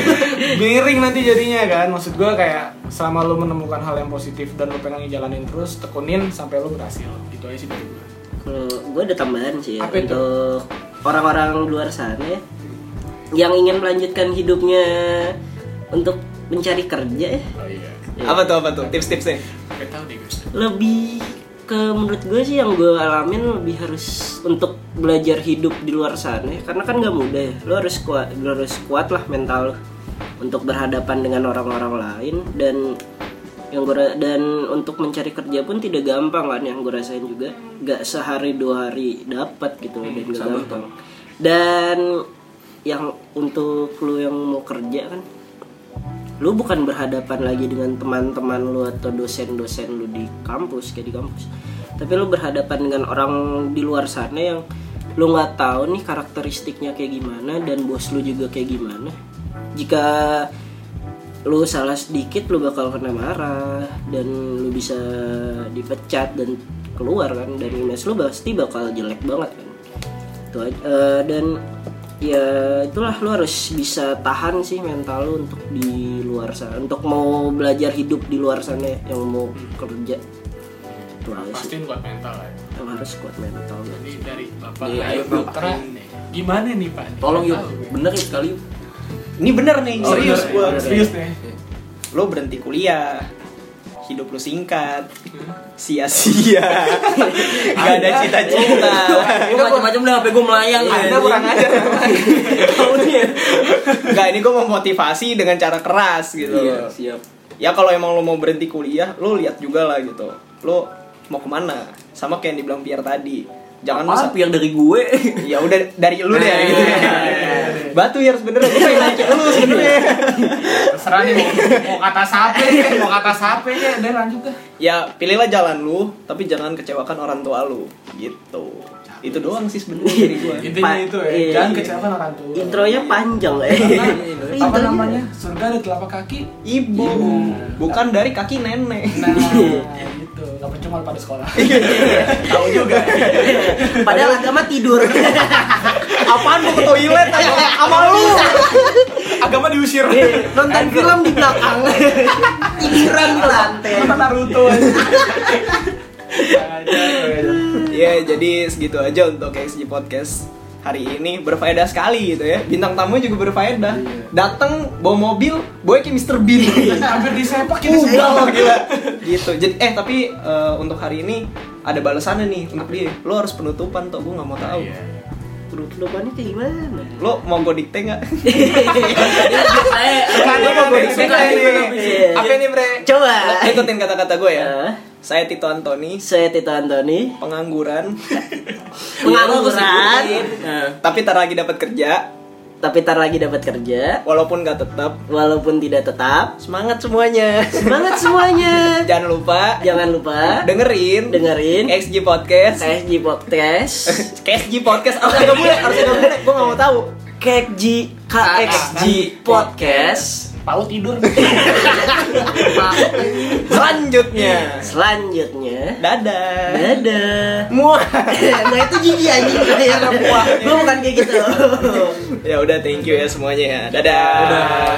F: <laughs> miring nanti jadinya kan maksud gua kayak selama lu menemukan hal yang positif dan lu pengen jalanin terus tekunin sampai lu berhasil gitu aja sih dari gue
H: Kalau gue Hmm, ada tambahan sih ya,
F: Apa itu?
H: untuk orang-orang luar sana ya, yang ingin melanjutkan hidupnya untuk mencari kerja ya,
F: oh iya
C: Apa tuh apa tuh? Tips-tipsnya.
F: gak tau deh gue
H: lebih ke menurut gue sih yang gue alamin lebih harus untuk belajar hidup di luar sana ya. karena kan nggak mudah ya lo harus kuat lo harus kuat lah mental lo untuk berhadapan dengan orang-orang lain dan yang gue ra- dan untuk mencari kerja pun tidak gampang kan yang gue rasain juga nggak sehari dua hari dapat gitu loh dan nggak gampang dan yang untuk lo yang mau kerja kan lu bukan berhadapan lagi dengan teman-teman lu atau dosen-dosen lu di kampus kayak di kampus tapi lu berhadapan dengan orang di luar sana yang lu nggak tahu nih karakteristiknya kayak gimana dan bos lu juga kayak gimana jika lu salah sedikit lu bakal kena marah dan lu bisa dipecat dan keluar kan dan image lu pasti bakal jelek banget kan itu aja. Eh, dan ya itulah lu harus bisa tahan sih mental lu untuk di luar sana untuk mau belajar hidup di luar sana ya, yang mau kerja itu aja sih
F: pastiin buat mental lah ya.
H: yang harus kuat mental
F: jadi dari bapak
D: Iya,
F: Ayu
D: ayo,
F: Putra gimana nih pak
D: tolong yuk
F: Nggak tahu gue.
D: bener yuk sekali yuk
C: Ini bener nih,
F: Oh,
C: serius
F: iya,
C: gua.
F: iya, serius nih
C: Lo berhenti kuliah. Hidup lu singkat. <laughs> Sia-sia. Gak ada
H: Iya.
C: <laughs> cita-cita. Iya.
D: gue macam-macam Iya. dah apa gue melayang Iya,
C: Anda
D: anjing.
C: kurang ajar <laughs> Enggak, ini gue memotivasi dengan cara keras gitu
D: iya
C: loh.
D: siap
C: Ya kalau emang lo mau berhenti kuliah, lo lihat juga lah gitu Lo mau kemana? Sama kayak yang dibilang Pierre tadi Jangan lu sa-
D: apa yang dari gue
C: ya udah dari lu deh gitu
F: Iya,
C: batu ya sebenernya gue pengen nanya lu sebenernya
F: terserah nih mau, mau kata sape mau kata sape ya udah lanjut dah
C: ya pilihlah jalan lu tapi jangan kecewakan orang tua lu gitu itu doang sih sebenernya dari gue
F: intinya
H: Pak,
F: itu ya
H: iya,
F: jangan
H: iya.
F: kecewakan orang tua
H: intronya panjang eh
F: Karena, apa
H: Intronya-
F: namanya surga ada telapak kaki
C: ibu bukan dari kaki nenek
F: Iya. Nah,
H: Iya.
F: gitu. Gak percuma pada sekolah.
C: tahu <laughs> juga
H: padahal agama tidur Iya,
C: apaan mau ke toilet sama- sama lu agama diusir
H: nonton film di <laughs> belakang tiduran di lantai
C: ya jadi segitu aja untuk XG Podcast hari ini berfaedah sekali gitu ya bintang tamu juga berfaedah datang bawa mobil boy kayak Mr. Bean
F: Hampir disepak kita
C: udah loh gila gitu jadi eh tapi eh, untuk hari ini ada balasannya nih untuk dia lo harus penutupan tuh gue nggak mau tahu
F: Iya.
H: penutupannya kayak gimana
C: lo mau gue dikte nggak
D: saya
H: Ya,
C: <laughs> lo mau gue dikte nggak ini?
H: Iya.
C: apa ini bre
H: Coba.
C: Lo ikutin kata-kata gue ya
H: Eh.
C: saya Tito Antoni
H: saya ya, Tito Iya, Antoni
C: pengangguran Iya.
H: pengangguran
C: tapi tar lagi dapat kerja
H: Nah, tapi tar lagi dapat kerja
C: Walaupun gak tetap,
H: walaupun tidak tetap
C: semangat semuanya.
H: semangat semuanya
C: Jangan lupa
H: jangan lupa
C: dengerin
H: dengerin
C: XG Podcast.
H: KSG Podcast
C: <laughs> KSG Podcast harus agak boleh, harus agak boleh. Gue gak mau tahu. Ah,
H: KXG KXG Podcast
F: Pau tidur.
H: Iya.
C: Selanjutnya.
H: selanjutnya
C: Iya. Dadah.
H: dadah
C: Muah.
H: <laughs> nah itu gigi anjing <laughs> ya gue bukan kayak gitu
C: ya udah thank you ya semuanya ya. Dadah. Dadah.